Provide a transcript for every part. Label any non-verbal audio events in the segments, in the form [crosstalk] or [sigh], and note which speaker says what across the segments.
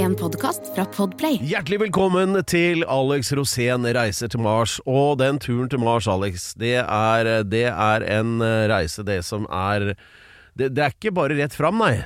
Speaker 1: En podkast fra Podplay.
Speaker 2: Hjertelig velkommen til Alex Rosén reiser til Mars. Og den turen til Mars, Alex, det er, det er en eh, reise, det som er det, det er ikke bare rett fram, nei.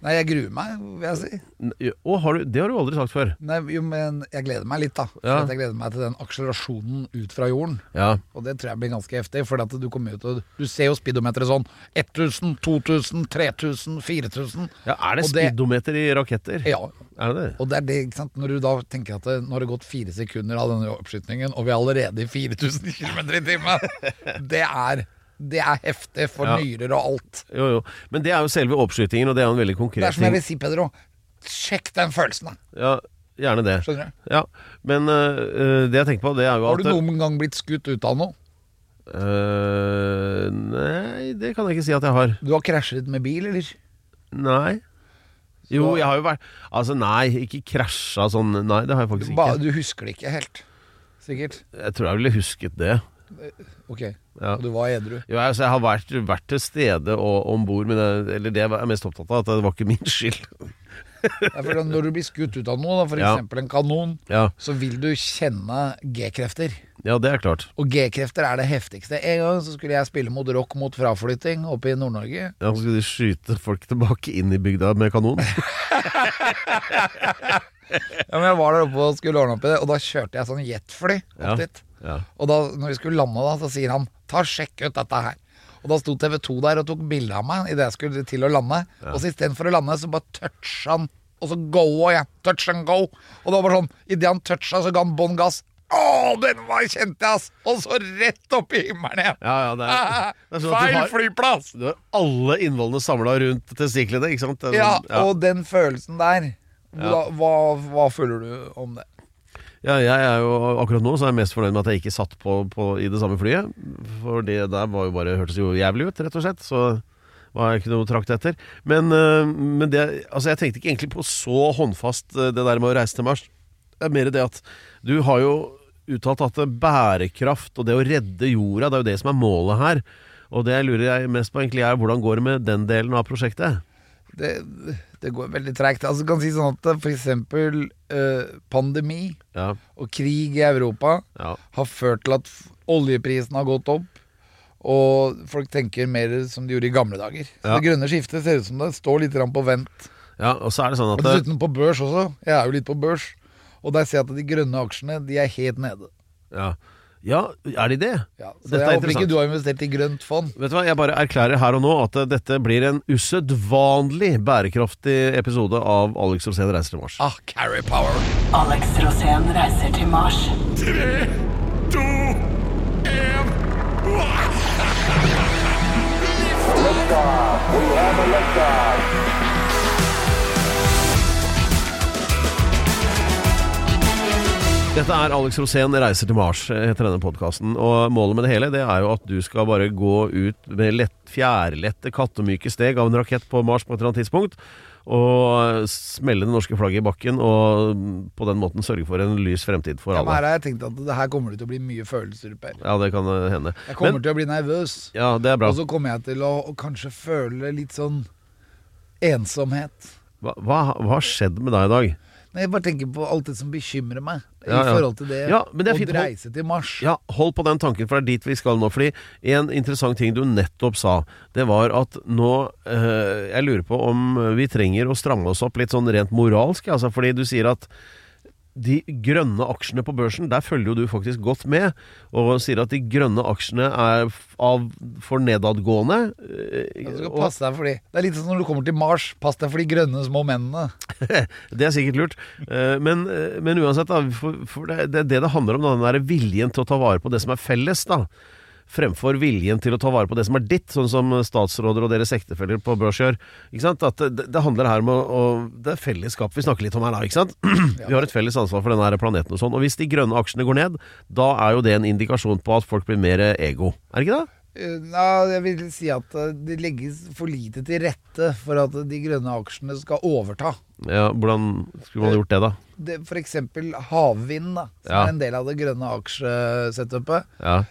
Speaker 3: Nei, jeg gruer meg, vil jeg si.
Speaker 2: N- Å, har du, det har du aldri sagt før.
Speaker 3: Nei, jo, men jeg gleder meg litt, da. For
Speaker 2: Ja.
Speaker 3: at Jeg gleder meg til den akselerasjonen ut fra jorden.
Speaker 2: Ja.
Speaker 3: Og det tror jeg blir ganske heftig, for at du kommer jo til å Du ser jo speedometeret sånn. 1000, 2000, 3000, 4000.
Speaker 2: ja er det
Speaker 3: Og det-
Speaker 2: speedometer i raketter?
Speaker 3: Ja.
Speaker 2: Er det det?
Speaker 3: Og det er det, ikke sant. Når du da tenker at det, nå har det gått fire sekunder av denne oppskytningen, og vi er allerede i 4000 km i timen. Det er det er heftig for
Speaker 2: Ja.
Speaker 3: nyrer og alt.
Speaker 2: Jo, jo. Men det er jo selve oppskytingen, og det er jo en veldig
Speaker 3: Det
Speaker 2: konkret
Speaker 3: er som jeg
Speaker 2: ting.
Speaker 3: vil si, Pedro. Sjekk den følelsen, da.
Speaker 2: Ja, gjerne det.
Speaker 3: Skjønner du?
Speaker 2: Ja. Men eh, eh, det jeg tenker på, det er jo
Speaker 3: Har
Speaker 2: at
Speaker 3: du noen gang blitt skutt ut av noe?
Speaker 2: Eh, Nei, det kan jeg ikke si at jeg har.
Speaker 3: Du har krasjet med bil, eller?
Speaker 2: Nei. Jo, jeg har jo vært Altså, nei, ikke krasja sånn. Nei, det har jeg faktisk
Speaker 3: Ba,
Speaker 2: ikke.
Speaker 3: du husker det ikke helt. Sikkert.
Speaker 2: Jeg tror jeg ville husket det.
Speaker 3: Ok,
Speaker 2: Ja.
Speaker 3: og du var edru.
Speaker 2: Jo, jeg- altså, jeg har vært, vært til stede og om bord, men jeg, eller det jeg er mest opptatt av, at det var ikke min skyld.
Speaker 3: Ja, for da- når du blir skutt ut av noe, da, for
Speaker 2: Ja.
Speaker 3: eksempel en kanon,
Speaker 2: [laughs] Ja,
Speaker 3: så vil du kjenne G-krefter.
Speaker 2: ja det er klart.
Speaker 3: Og G-krefter er det heftigste. En gang så skulle jeg spille mot rock mot fraflytting oppe i Nord-Norge.
Speaker 2: Ja, så skulle de skyte folk tilbake inn i bygda med kanon.
Speaker 3: Ja, men jeg var der oppe og skulle ordne opp i det, og da kjørte jeg sånn jetfly opp
Speaker 2: Ja.
Speaker 3: dit.
Speaker 2: Ja.
Speaker 3: Og da når vi skulle lande, da, så sier han ta sjekk ut dette her. Og da sto TV 2 der og tok bilde av meg idet jeg skulle til å lande. Og så istedenfor å lande, så bare toucha han, og så goa jeg. Touch and go. Og det var bare sånn, idet han toucha, så ga han bånn gass. Å, den var kjent, ass! Og så rett opp i himmelen igjen.
Speaker 2: [laughs] Ja, ja, det er, det er sånn at du
Speaker 3: [laughs] Feil
Speaker 2: har-
Speaker 3: flyplass!
Speaker 2: Du har alle innvollene samla rundt testiklene, ikke sant? Det er
Speaker 3: Ja,
Speaker 2: sånn- ja.
Speaker 3: og den følelsen der. Hva, hva, hva føler du om det?
Speaker 2: Ja, jeg er jo, akkurat nå så er jeg mest fornøyd med at jeg ikke satt på, på i det samme flyet. For det der var jo bare, hørtes jo jævlig ut, rett og slett. Så var jeg ikke noe å trakte etter. Men, øh, men det, altså jeg tenkte ikke egentlig på så håndfast øh, det der med å reise til Mars. Det er mer det at du har jo uttalt at bærekraft og det å redde jorda, det er jo det som er målet her. Og det jeg lurer jeg mest på egentlig er hvordan går det med den delen av prosjektet?
Speaker 3: det, det går veldig treigt. Altså, du kan si sånn at for eksempel eh, pandemi
Speaker 2: Ja,
Speaker 3: og krig i Europa
Speaker 2: ja,
Speaker 3: har ført til at f- oljeprisen har gått opp, og folk tenker mer som de gjorde i gamle dager. Så
Speaker 2: Ja.
Speaker 3: Det grønne skiftet ser ut som det står litt grann på vent.
Speaker 2: ja. Og så er det sånn
Speaker 3: Og
Speaker 2: at
Speaker 3: dessuten på børs også. Jeg er jo litt på børs. Og der ser jeg at de grønne aksjene de er helt nede.
Speaker 2: Ja, ja er de det?
Speaker 3: Ja, så
Speaker 2: Dette er
Speaker 3: jeg håper ikke
Speaker 2: interessant.
Speaker 3: du har investert i grønt fond.
Speaker 2: Vet du hva, Jeg bare erklærer her og nå at eh, dette blir en usedvanlig bærekraftig episode av Alex Rosén reiser til Mars.
Speaker 3: Ah, carry power.
Speaker 4: Alex Rosén reiser til Mars.
Speaker 2: Dette er Alex Rosén reiser til Mars, eh, heter denne podkasten. Og målet med det hele det er jo at du skal bare gå ut med lett, fjærlette, kattemyke steg av en rakett på Mars på et eller annet tidspunkt. Og eh, smelle det norske flagget i bakken, og mm, på den måten sørge for en lys fremtid for
Speaker 3: Ja, men her
Speaker 2: alle.
Speaker 3: har jeg tenkt at det her kommer det til å bli mye følelser. Per.
Speaker 2: Ja, det kan eh, hende.
Speaker 3: Jeg kommer
Speaker 2: Men,
Speaker 3: til å bli nervøs.
Speaker 2: ja, det er bra.
Speaker 3: Og så kommer jeg til å, å kanskje føle litt sånn ensomhet.
Speaker 2: Hva, hva, hva har skjedd med deg i dag?
Speaker 3: Men jeg bare tenker på alt det som bekymrer meg
Speaker 2: Ja, ja.
Speaker 3: i forhold til det
Speaker 2: Ja, men det er
Speaker 3: å
Speaker 2: fint.
Speaker 3: reise til Mars.
Speaker 2: Ja, hold på den tanken, for det er dit vi skal nå. Fordi en interessant ting du nettopp sa, det var at nå eh, Jeg lurer på om vi trenger å stramme oss opp litt sånn rent moralsk, altså. Fordi du sier at de grønne aksjene på børsen, der følger jo du faktisk godt med, og sier at de grønne aksjene er f- av for nedadgående. eh,
Speaker 3: Du skal
Speaker 2: og-
Speaker 3: passe deg for de. Det er litt sånn når du kommer til Mars, pass deg for de grønne små mennene.
Speaker 2: Det er sikkert lurt. Eh, Men, eh, men uansett, da, for, for det, det er det det handler om. Da, den der viljen til å ta vare på det som er felles. Da. fremfor viljen til å ta vare på det som er ditt, sånn som statsråder og deres ektefeller på børs gjør. Ikke sant? At det, det handler her om å, å Det er fellesskap vi snakker litt om her, da. Ikke sant? [clears throat] Vi har et felles ansvar for denne her planeten og sånn. Og hvis de grønne aksjene går ned, da er jo det en indikasjon på at folk blir mer ego. Er det ikke det?
Speaker 3: Eh, Ja, jeg vil si at eh, det legges for lite til rette for at de grønne aksjene skal overta.
Speaker 2: Ja, hvordan skulle man gjort det, da?
Speaker 3: Det, for eksempel havvind, da, som
Speaker 2: Ja.
Speaker 3: er en del av det grønne aksjesetupet.
Speaker 2: Ja,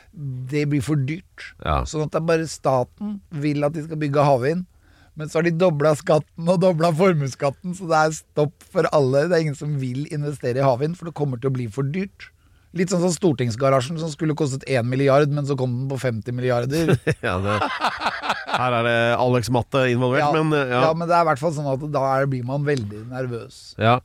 Speaker 3: Det blir for dyrt.
Speaker 2: ja.
Speaker 3: Sånn at det er bare staten vil at de skal bygge havvind. Men så har de dobla skatten og dobla formuesskatten, så det er stopp for alle. Det er ingen som vil investere i havvind, for det kommer til å bli for dyrt. Litt sånn som Stortingsgarasjen, som skulle kostet 1 milliard, men så kom den på
Speaker 2: [laughs]
Speaker 3: 50 milliarder.
Speaker 2: ja det, her er det Alex Matte involvert,
Speaker 3: Ja,
Speaker 2: men eh,
Speaker 3: ja. men det er i hvert fall sånn at da er, blir man veldig nervøs.
Speaker 2: Ja,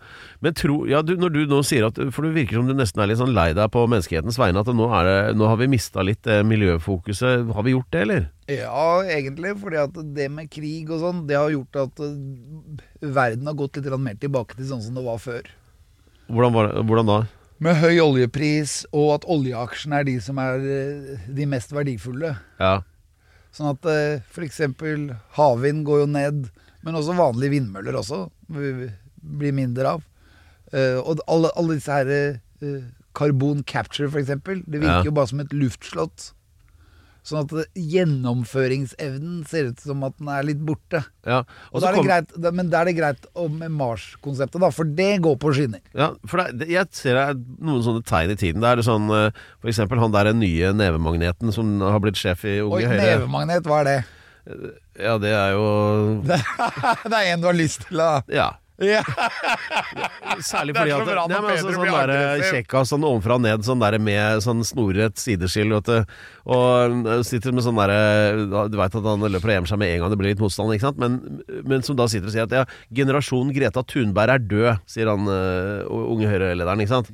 Speaker 2: men tro, ja, du, når du nå sier at For du virker som du nesten er litt sånn lei deg på menneskehetens vegne. At nå, er det, nå har vi mista litt eh, miljøfokuset. Har vi gjort det, eller?
Speaker 3: Ja, egentlig, fordi at det med krig og sånn, det har gjort at eh, verden har gått litt grann mer tilbake til sånn som det var før.
Speaker 2: Hvordan, var det, hvordan da?
Speaker 3: Med høy oljepris, og at oljeaksjene er de som er eh, de mest verdifulle.
Speaker 2: Ja,
Speaker 3: Sånn at eh, for eksempel havvind går jo ned, men også vanlige vindmøller også eh, blir mindre av. Eh, og alle, alle disse her eh, Carbon capture for eksempel, det virker
Speaker 2: Ja.
Speaker 3: jo bare som et luftslott. Sånn at eh, gjennomføringsevnen ser ut som at den er litt borte.
Speaker 2: ja.
Speaker 3: Og
Speaker 2: Og
Speaker 3: da
Speaker 2: så
Speaker 3: er det
Speaker 2: kom-
Speaker 3: greit, da- men da er det greit om- med Mars-konseptet, da, for det går på skinner.
Speaker 2: Ja, for det, det- jeg ser det er noen sånne tegn i tiden. Det er det sånn, eh, for eksempel han der nye nevemagneten som har blitt sjef i Unge
Speaker 3: Oi,
Speaker 2: Høyre.
Speaker 3: nevemagnet, hva er det?
Speaker 2: Ja, det er jo
Speaker 3: [laughs] det er en du har lyst til å
Speaker 2: Ja.
Speaker 3: ja.
Speaker 2: Særlig
Speaker 3: Det
Speaker 2: fordi
Speaker 3: er så
Speaker 2: at
Speaker 3: bra når
Speaker 2: Nei, men altså,
Speaker 3: Peder
Speaker 2: sånn
Speaker 3: blir
Speaker 2: der
Speaker 3: aggressiv.
Speaker 2: kjekkas sånn ovenfra og ned, sånn der med sånn snorrett sideskill, vet du. Og ø, sitter med sånn derre Du veit at han løper og gjemmer seg med en gang det blir litt motstand, ikke sant? Men, men som da sitter og sier at ja, generasjon Greta Thunberg er død, sier han ø, unge Høyre-lederen, ikke sant?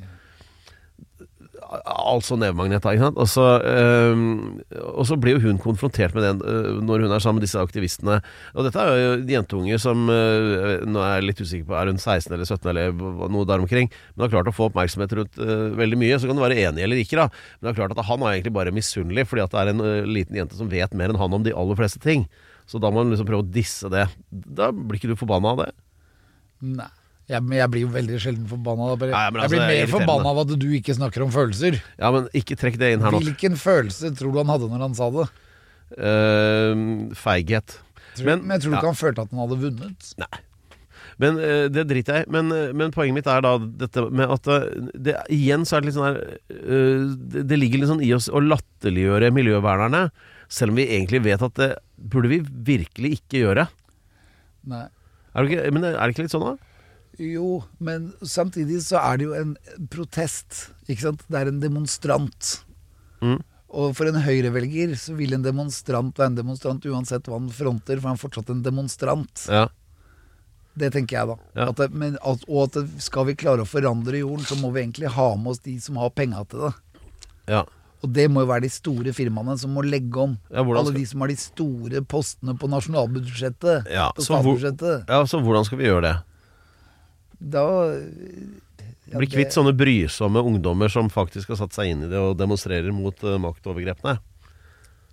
Speaker 2: Altså nevemagnet, da, ikke sant. Og så, øhm, og så blir jo hun konfrontert med den øh, når hun er sammen med disse aktivistene. Og dette er jo en jentunge som øh, Nå er jeg litt usikker på, er hun 16 eller 17 eller hva- noe der omkring? Men har klart å få oppmerksomhet rundt øh, veldig mye. Så kan du være enig eller ikke, da. Men det er klart at han er egentlig bare misunnelig, fordi at det er en øh, liten jente som vet mer enn han om de aller fleste ting. Så da må han liksom prøve å disse det. Da blir ikke du forbanna av det?
Speaker 3: Nei. Jeg, men jeg blir jo veldig sjelden forbanna. da, bare-
Speaker 2: Nei, men altså,
Speaker 3: jeg blir
Speaker 2: det er
Speaker 3: mer
Speaker 2: irriterende.
Speaker 3: forbanna av at du ikke snakker om følelser.
Speaker 2: Ja, men ikke trekk det inn her nå.
Speaker 3: Hvilken følelse tror du han hadde når han sa det?
Speaker 2: Øhm, Ehm, feighet.
Speaker 3: Tror, men, jeg tror
Speaker 2: ja.
Speaker 3: ikke han følte at han hadde vunnet.
Speaker 2: Nei. Men eh, det driter jeg i. Men, eh, men poenget mitt er da dette med at eh, det, igjen så er det litt sånn her eh, det, det ligger litt sånn i oss å latterliggjøre miljøvernerne, selv om vi egentlig vet at det burde vi virkelig ikke gjøre.
Speaker 3: Nei.
Speaker 2: Er det ikke, men er det ikke litt sånn, da?
Speaker 3: Jo, men samtidig så er det jo en protest, ikke sant? Det er en demonstrant.
Speaker 2: Mm.
Speaker 3: Og for en høyrevelger så vil en demonstrant være en demonstrant uansett hva han fronter, for han er fortsatt en demonstrant.
Speaker 2: Ja.
Speaker 3: Det tenker jeg, da.
Speaker 2: Ja.
Speaker 3: At det, men at, og at det, skal vi klare å forandre jorden, så må vi egentlig ha med oss de som har penga til det.
Speaker 2: ja.
Speaker 3: Og det må jo være de store firmaene som må legge om.
Speaker 2: Ja, hvordan
Speaker 3: Alle
Speaker 2: skal-
Speaker 3: de som har de store postene på nasjonalbudsjettet.
Speaker 2: Ja,
Speaker 3: på
Speaker 2: så hvor-
Speaker 3: statsbudsjettet.
Speaker 2: ja, så hvordan skal vi gjøre det?
Speaker 3: Da ja,
Speaker 2: Bli
Speaker 3: det-
Speaker 2: kvitt sånne brysomme ungdommer som faktisk har satt seg inn i det og demonstrerer mot eh, maktovergrepene.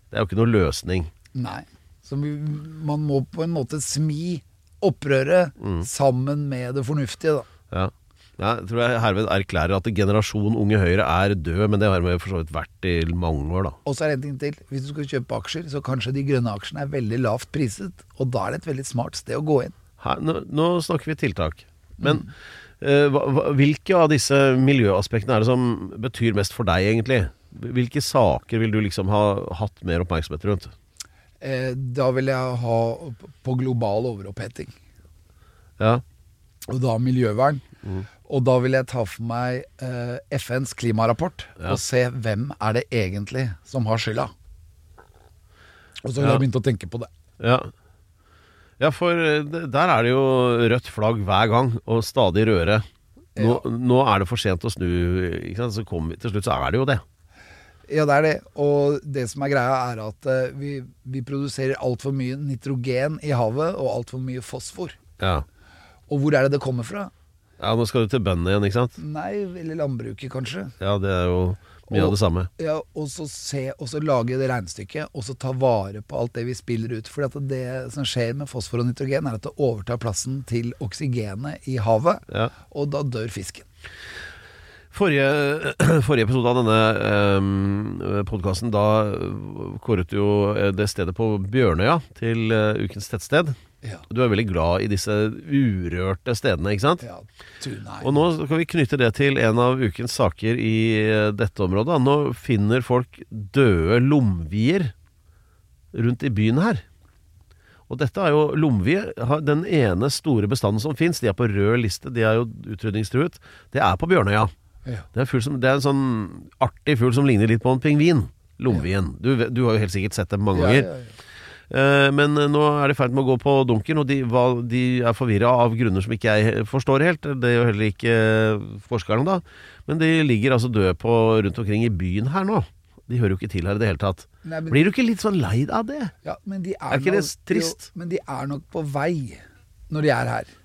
Speaker 2: Det er jo ikke noe løsning.
Speaker 3: Nei. Så vi- man må på en måte smi opprøret
Speaker 2: Mm.
Speaker 3: sammen med det fornuftige, da.
Speaker 2: Ja. Ja, jeg tror jeg herved erklærer at generasjon Unge Høyre er død, men det har vi for så vidt vært i mange år, da.
Speaker 3: Og så er det en ting til. Hvis du skal kjøpe aksjer, så kanskje de grønne aksjene er veldig lavt priset, og da er det et veldig smart sted å gå inn.
Speaker 2: Her, nå, nå snakker vi tiltak. Men eh, hva, hva, hvilke av disse miljøaspektene er det som betyr mest for deg, egentlig? Hvilke saker vil du liksom ha hatt mer oppmerksomhet rundt?
Speaker 3: Eh, da vil jeg ha på global overoppheting,
Speaker 2: Ja,
Speaker 3: og da miljøvern.
Speaker 2: Mm.
Speaker 3: Og da vil jeg ta for meg eh, FNs klimarapport
Speaker 2: Ja.
Speaker 3: og se hvem er det egentlig som har skylda. Og så har
Speaker 2: Ja.
Speaker 3: jeg begynt å tenke på det.
Speaker 2: ja. ja for eh, det- der er det jo rødt flagg hver gang, og stadig rødere. Nå, nå er det for sent å snu, ikke sant? Så kommer vi, til slutt så er det jo det.
Speaker 3: Ja, det er det. Og det som er greia, er at eh, vi, vi produserer altfor mye nitrogen i havet, og altfor mye fosfor.
Speaker 2: Ja.
Speaker 3: Og hvor er det det kommer fra?
Speaker 2: ja, nå skal du til bøndene igjen, ikke sant?
Speaker 3: Nei, eller landbruket, kanskje.
Speaker 2: Ja, det er jo Mye av det samme.
Speaker 3: Ja, og så, se, og så lage det regnestykket, og så ta vare på alt det vi spiller ut. For det som skjer med fosfor og nitrogen, er at det overtar plassen til oksygenet i havet,
Speaker 2: Ja.
Speaker 3: og da dør fisken.
Speaker 2: Forrige, [clears throat] forrige episode av denne um, podkasten, da eh, kåret du jo det stedet på Bjørnøya til eh, ukens tettsted.
Speaker 3: Ja.
Speaker 2: Du er veldig glad i disse urørte stedene, ikke sant?
Speaker 3: Ja, tuna
Speaker 2: Og nå kan vi knytte det til en av ukens saker i eh, dette området. da. Nå finner folk døde lomvier rundt i byen her. Og dette er jo lomvie. har- Den ene store bestanden som fins, de er på rød liste, de er jo utrydningstruet, det er på Bjørnøya.
Speaker 3: Ja.
Speaker 2: Det er, en fugl som, det er en sånn artig fugl som ligner litt på en pingvin. Lomvien. Du, ve- du har jo helt sikkert sett det mange
Speaker 3: Ja,
Speaker 2: ganger.
Speaker 3: ja, ja.
Speaker 2: Eh, Men eh, nå er de i ferd med å gå på dunken, og de, hva, de er forvirra av grunner som ikke jeg forstår helt. Det gjør heller ikke eh, forskerne, da. Men de ligger altså døde på rundt omkring i byen her nå. De hører jo ikke til her i det hele tatt.
Speaker 3: Nei, men-
Speaker 2: Blir du ikke litt sånn lei av det?
Speaker 3: Ja, men de er,
Speaker 2: Er ikke det
Speaker 3: nok-
Speaker 2: trist?
Speaker 3: Jo, men de er nok på vei når de er her.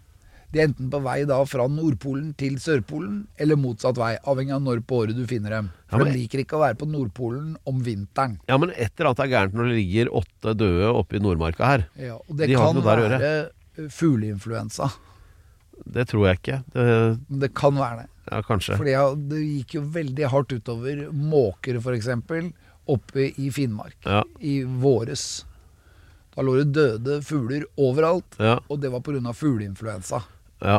Speaker 3: De er enten på vei da fra Nordpolen til Sørpolen, eller motsatt vei, avhengig av når på året du finner dem. For
Speaker 2: Ja, men-
Speaker 3: de liker ikke å være på Nordpolen om vinteren.
Speaker 2: Ja, men et eller annet er gærent når det ligger åtte døde oppe i Nordmarka her.
Speaker 3: Ja, og det
Speaker 2: De har
Speaker 3: kan
Speaker 2: ikke noe der å
Speaker 3: være eh, fugleinfluensa.
Speaker 2: Det tror jeg ikke. Det,
Speaker 3: Men Det kan være det.
Speaker 2: ja, kanskje.
Speaker 3: For det gikk jo veldig hardt utover måker, f.eks., oppe i Finnmark
Speaker 2: Ja.
Speaker 3: i våres. Da lå det døde fugler overalt,
Speaker 2: Ja.
Speaker 3: og det var pga. fugleinfluensa.
Speaker 2: Ja.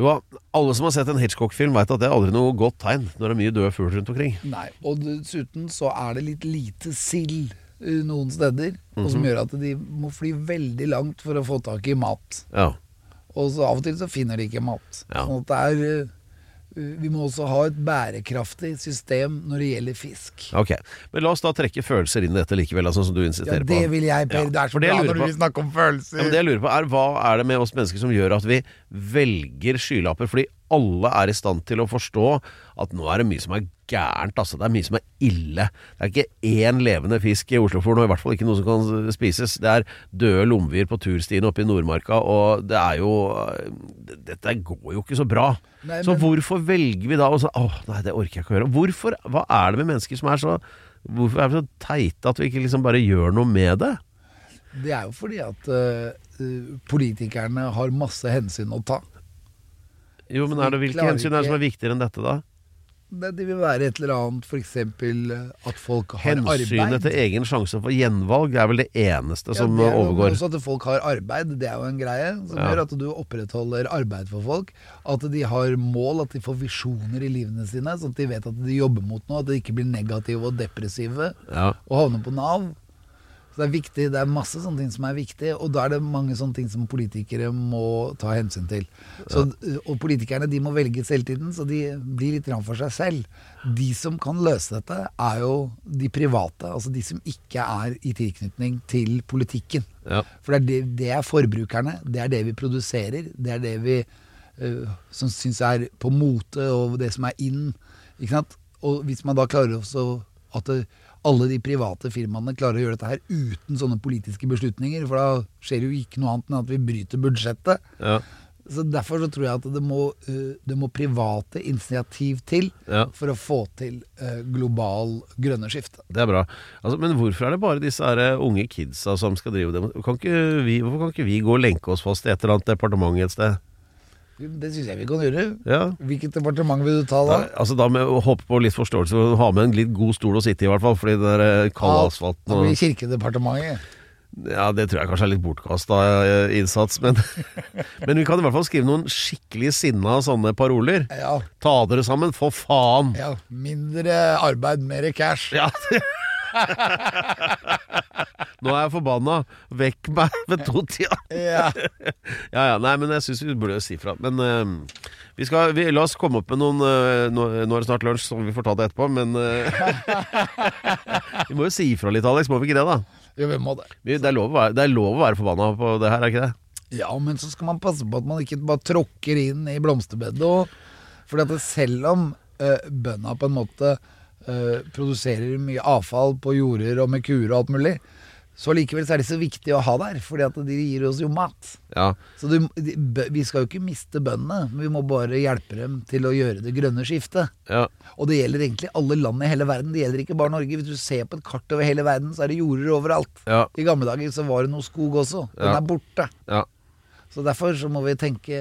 Speaker 2: Jo, da, alle som har sett en Hitchcock-film, veit at det er aldri noe godt tegn når det er mye død fugl rundt omkring.
Speaker 3: Nei, og dessuten så er det litt lite sild eh, noen steder,
Speaker 2: Mhm.
Speaker 3: og som gjør at de må fly veldig langt for å få tak i mat.
Speaker 2: Ja.
Speaker 3: Og så av og til så finner de ikke mat.
Speaker 2: Ja.
Speaker 3: Sånn at det er eh, eh, Vi må også ha et bærekraftig system når det gjelder fisk.
Speaker 2: Ok, Men la oss da trekke følelser inn i dette likevel, altså, som du
Speaker 3: Ja,
Speaker 2: insisterer på.
Speaker 3: det vil jeg, Per.
Speaker 2: Ja,
Speaker 3: Det er
Speaker 2: for
Speaker 3: så
Speaker 2: det
Speaker 3: bra
Speaker 2: jeg lurer
Speaker 3: når du
Speaker 2: på-
Speaker 3: vil snakke om
Speaker 2: Ja, men
Speaker 3: følelser.
Speaker 2: det jeg lurer på er, Hva er det med oss mennesker som gjør at vi velger skylapper? Fordi alle er i stand til å forstå at nå er det mye som er gærent. Altså. Det er mye som er ille. Det er ikke én levende fisk i Oslofjorden, og i hvert fall ikke noe som kan spises. Det er døde lomvier på turstiene oppe i Nordmarka, og det er jo eh, Dette går jo ikke så bra.
Speaker 3: Nei,
Speaker 2: Så
Speaker 3: men-
Speaker 2: hvorfor velger vi da å sånn Åh, nei, det orker jeg ikke å gjøre. Hvorfor, hva er det med mennesker som er så Hvorfor er vi så teite at vi ikke liksom bare gjør noe med det?
Speaker 3: Det er jo fordi at eh, eh, politikerne har masse hensyn å ta.
Speaker 2: Jo, men
Speaker 3: Så
Speaker 2: er
Speaker 3: de
Speaker 2: det hvilke
Speaker 3: klarer
Speaker 2: hensyn er det som
Speaker 3: ikke-
Speaker 2: er viktigere enn dette, da?
Speaker 3: Det det vil være et eller annet, f.eks. at folk har
Speaker 2: Hensynet
Speaker 3: arbeid.
Speaker 2: til egen sjanse for gjenvalg er vel det eneste som
Speaker 3: det er jo
Speaker 2: overgår.
Speaker 3: Også at folk har arbeid, det er jo en greie som
Speaker 2: Ja.
Speaker 3: gjør at du opprettholder arbeid for folk. At de har mål, at de får visjoner i livene sine, sånn at de vet at de jobber mot noe. At de ikke blir negative og depressive
Speaker 2: Ja.
Speaker 3: og havner på Nav. Så det er viktig, det er masse sånne ting som er viktig, og da er det mange sånne ting som politikere må ta hensyn til. Så, og politikerne de må velges hele tiden, så de blir litt grann for seg selv. De som kan løse dette, er jo de private, altså de som ikke er i tilknytning til politikken.
Speaker 2: Ja.
Speaker 3: For det er, det, det er forbrukerne, det er det vi produserer, det er det vi eh, som syns er på mote, og det som er in. Ikke sant? Og hvis man da klarer også at det, alle de private firmaene klarer å gjøre dette her uten sånne politiske beslutninger, for da skjer jo ikke noe annet enn at vi bryter budsjettet.
Speaker 2: Ja.
Speaker 3: Så Derfor så tror jeg at det må, eh, det må private initiativ til
Speaker 2: Ja.
Speaker 3: for å få til eh, global grønne skifte.
Speaker 2: Det er bra. Altså, men hvorfor er det bare disse her eh, unge kidsa som skal drive det? Kan ikke vi, hvorfor kan ikke vi gå og lenke oss fast i et eller annet departement et sted?
Speaker 3: Det syns jeg vi kan gjøre.
Speaker 2: Ja.
Speaker 3: Hvilket departement vil du ta da?
Speaker 2: Da, altså da med å håpe på litt forståelse og ha med en litt god stol å sitte i, i hvert fall. Fordi den der eh, kalde asfalten
Speaker 3: Da blir
Speaker 2: og
Speaker 3: det Kirkedepartementet.
Speaker 2: Ja, det tror jeg kanskje er litt bortkasta eh, innsats, men, men vi kan i hvert fall skrive noen skikkelig sinna sånne paroler.
Speaker 3: Ja.
Speaker 2: Ta dere sammen, for faen!
Speaker 3: ja. Mindre arbeid,
Speaker 2: [laughs]
Speaker 3: mer cash.
Speaker 2: Ja. Nå er jeg forbanna. Vekk meg [laughs] ved to-tida.
Speaker 3: Ja.
Speaker 2: Ja, ja, nei, men jeg syns vi burde si fra. Men eh, vi skal, vi, la oss komme opp med noen eh, Nå nå er det snart lunsj, så vi får ta det etterpå, men eh, [laughs] Vi må jo si ifra litt, Alex. Må vi ikke det, da?
Speaker 3: Jo, vi må det.
Speaker 2: Vi, det, er lov å være, det er lov å være forbanna på det her, er ikke det?
Speaker 3: Ja, men så skal man passe på at man ikke bare tråkker inn i blomsterbedet. Og, fordi at det, selv om eh, bøndene på en måte eh, produserer mye avfall på jorder og med kuer og alt mulig, Så likevel så er de så viktige å ha der, fordi at de gir oss jo mat.
Speaker 2: Ja.
Speaker 3: Så du, de, bø- vi skal jo ikke miste bøndene, men vi må bare hjelpe dem til å gjøre det grønne skiftet.
Speaker 2: ja.
Speaker 3: Og det gjelder egentlig alle land i hele verden, det gjelder ikke bare Norge. Hvis du ser på et kart over hele verden, så er det jorder overalt.
Speaker 2: Ja.
Speaker 3: I gamle dager så var det noe skog også. Den
Speaker 2: Ja.
Speaker 3: er borte.
Speaker 2: ja.
Speaker 3: Så derfor så må vi tenke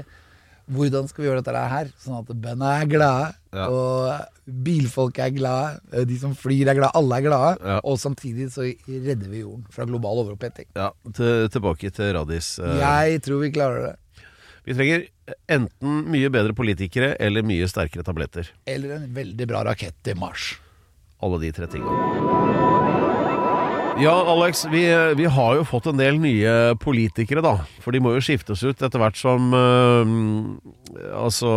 Speaker 3: hvordan skal vi gjøre dette her, sånn at bøndene er glade,
Speaker 2: Ja.
Speaker 3: og bilfolk er glade, eh, de som flyr er glade, alle er glade.
Speaker 2: Ja.
Speaker 3: Og samtidig så redder vi jorden fra global overoppheting.
Speaker 2: ja. Til, tilbake til Radis. eh.
Speaker 3: Jeg tror vi klarer det.
Speaker 2: Vi trenger enten mye bedre politikere eller mye sterkere tabletter.
Speaker 3: Eller en veldig bra rakett til Mars.
Speaker 2: Alle de tre tingene. Ja, Alex, vi, eh, vi har jo fått en del nye politikere, da. For de må jo skiftes ut etter hvert som eh, Altså,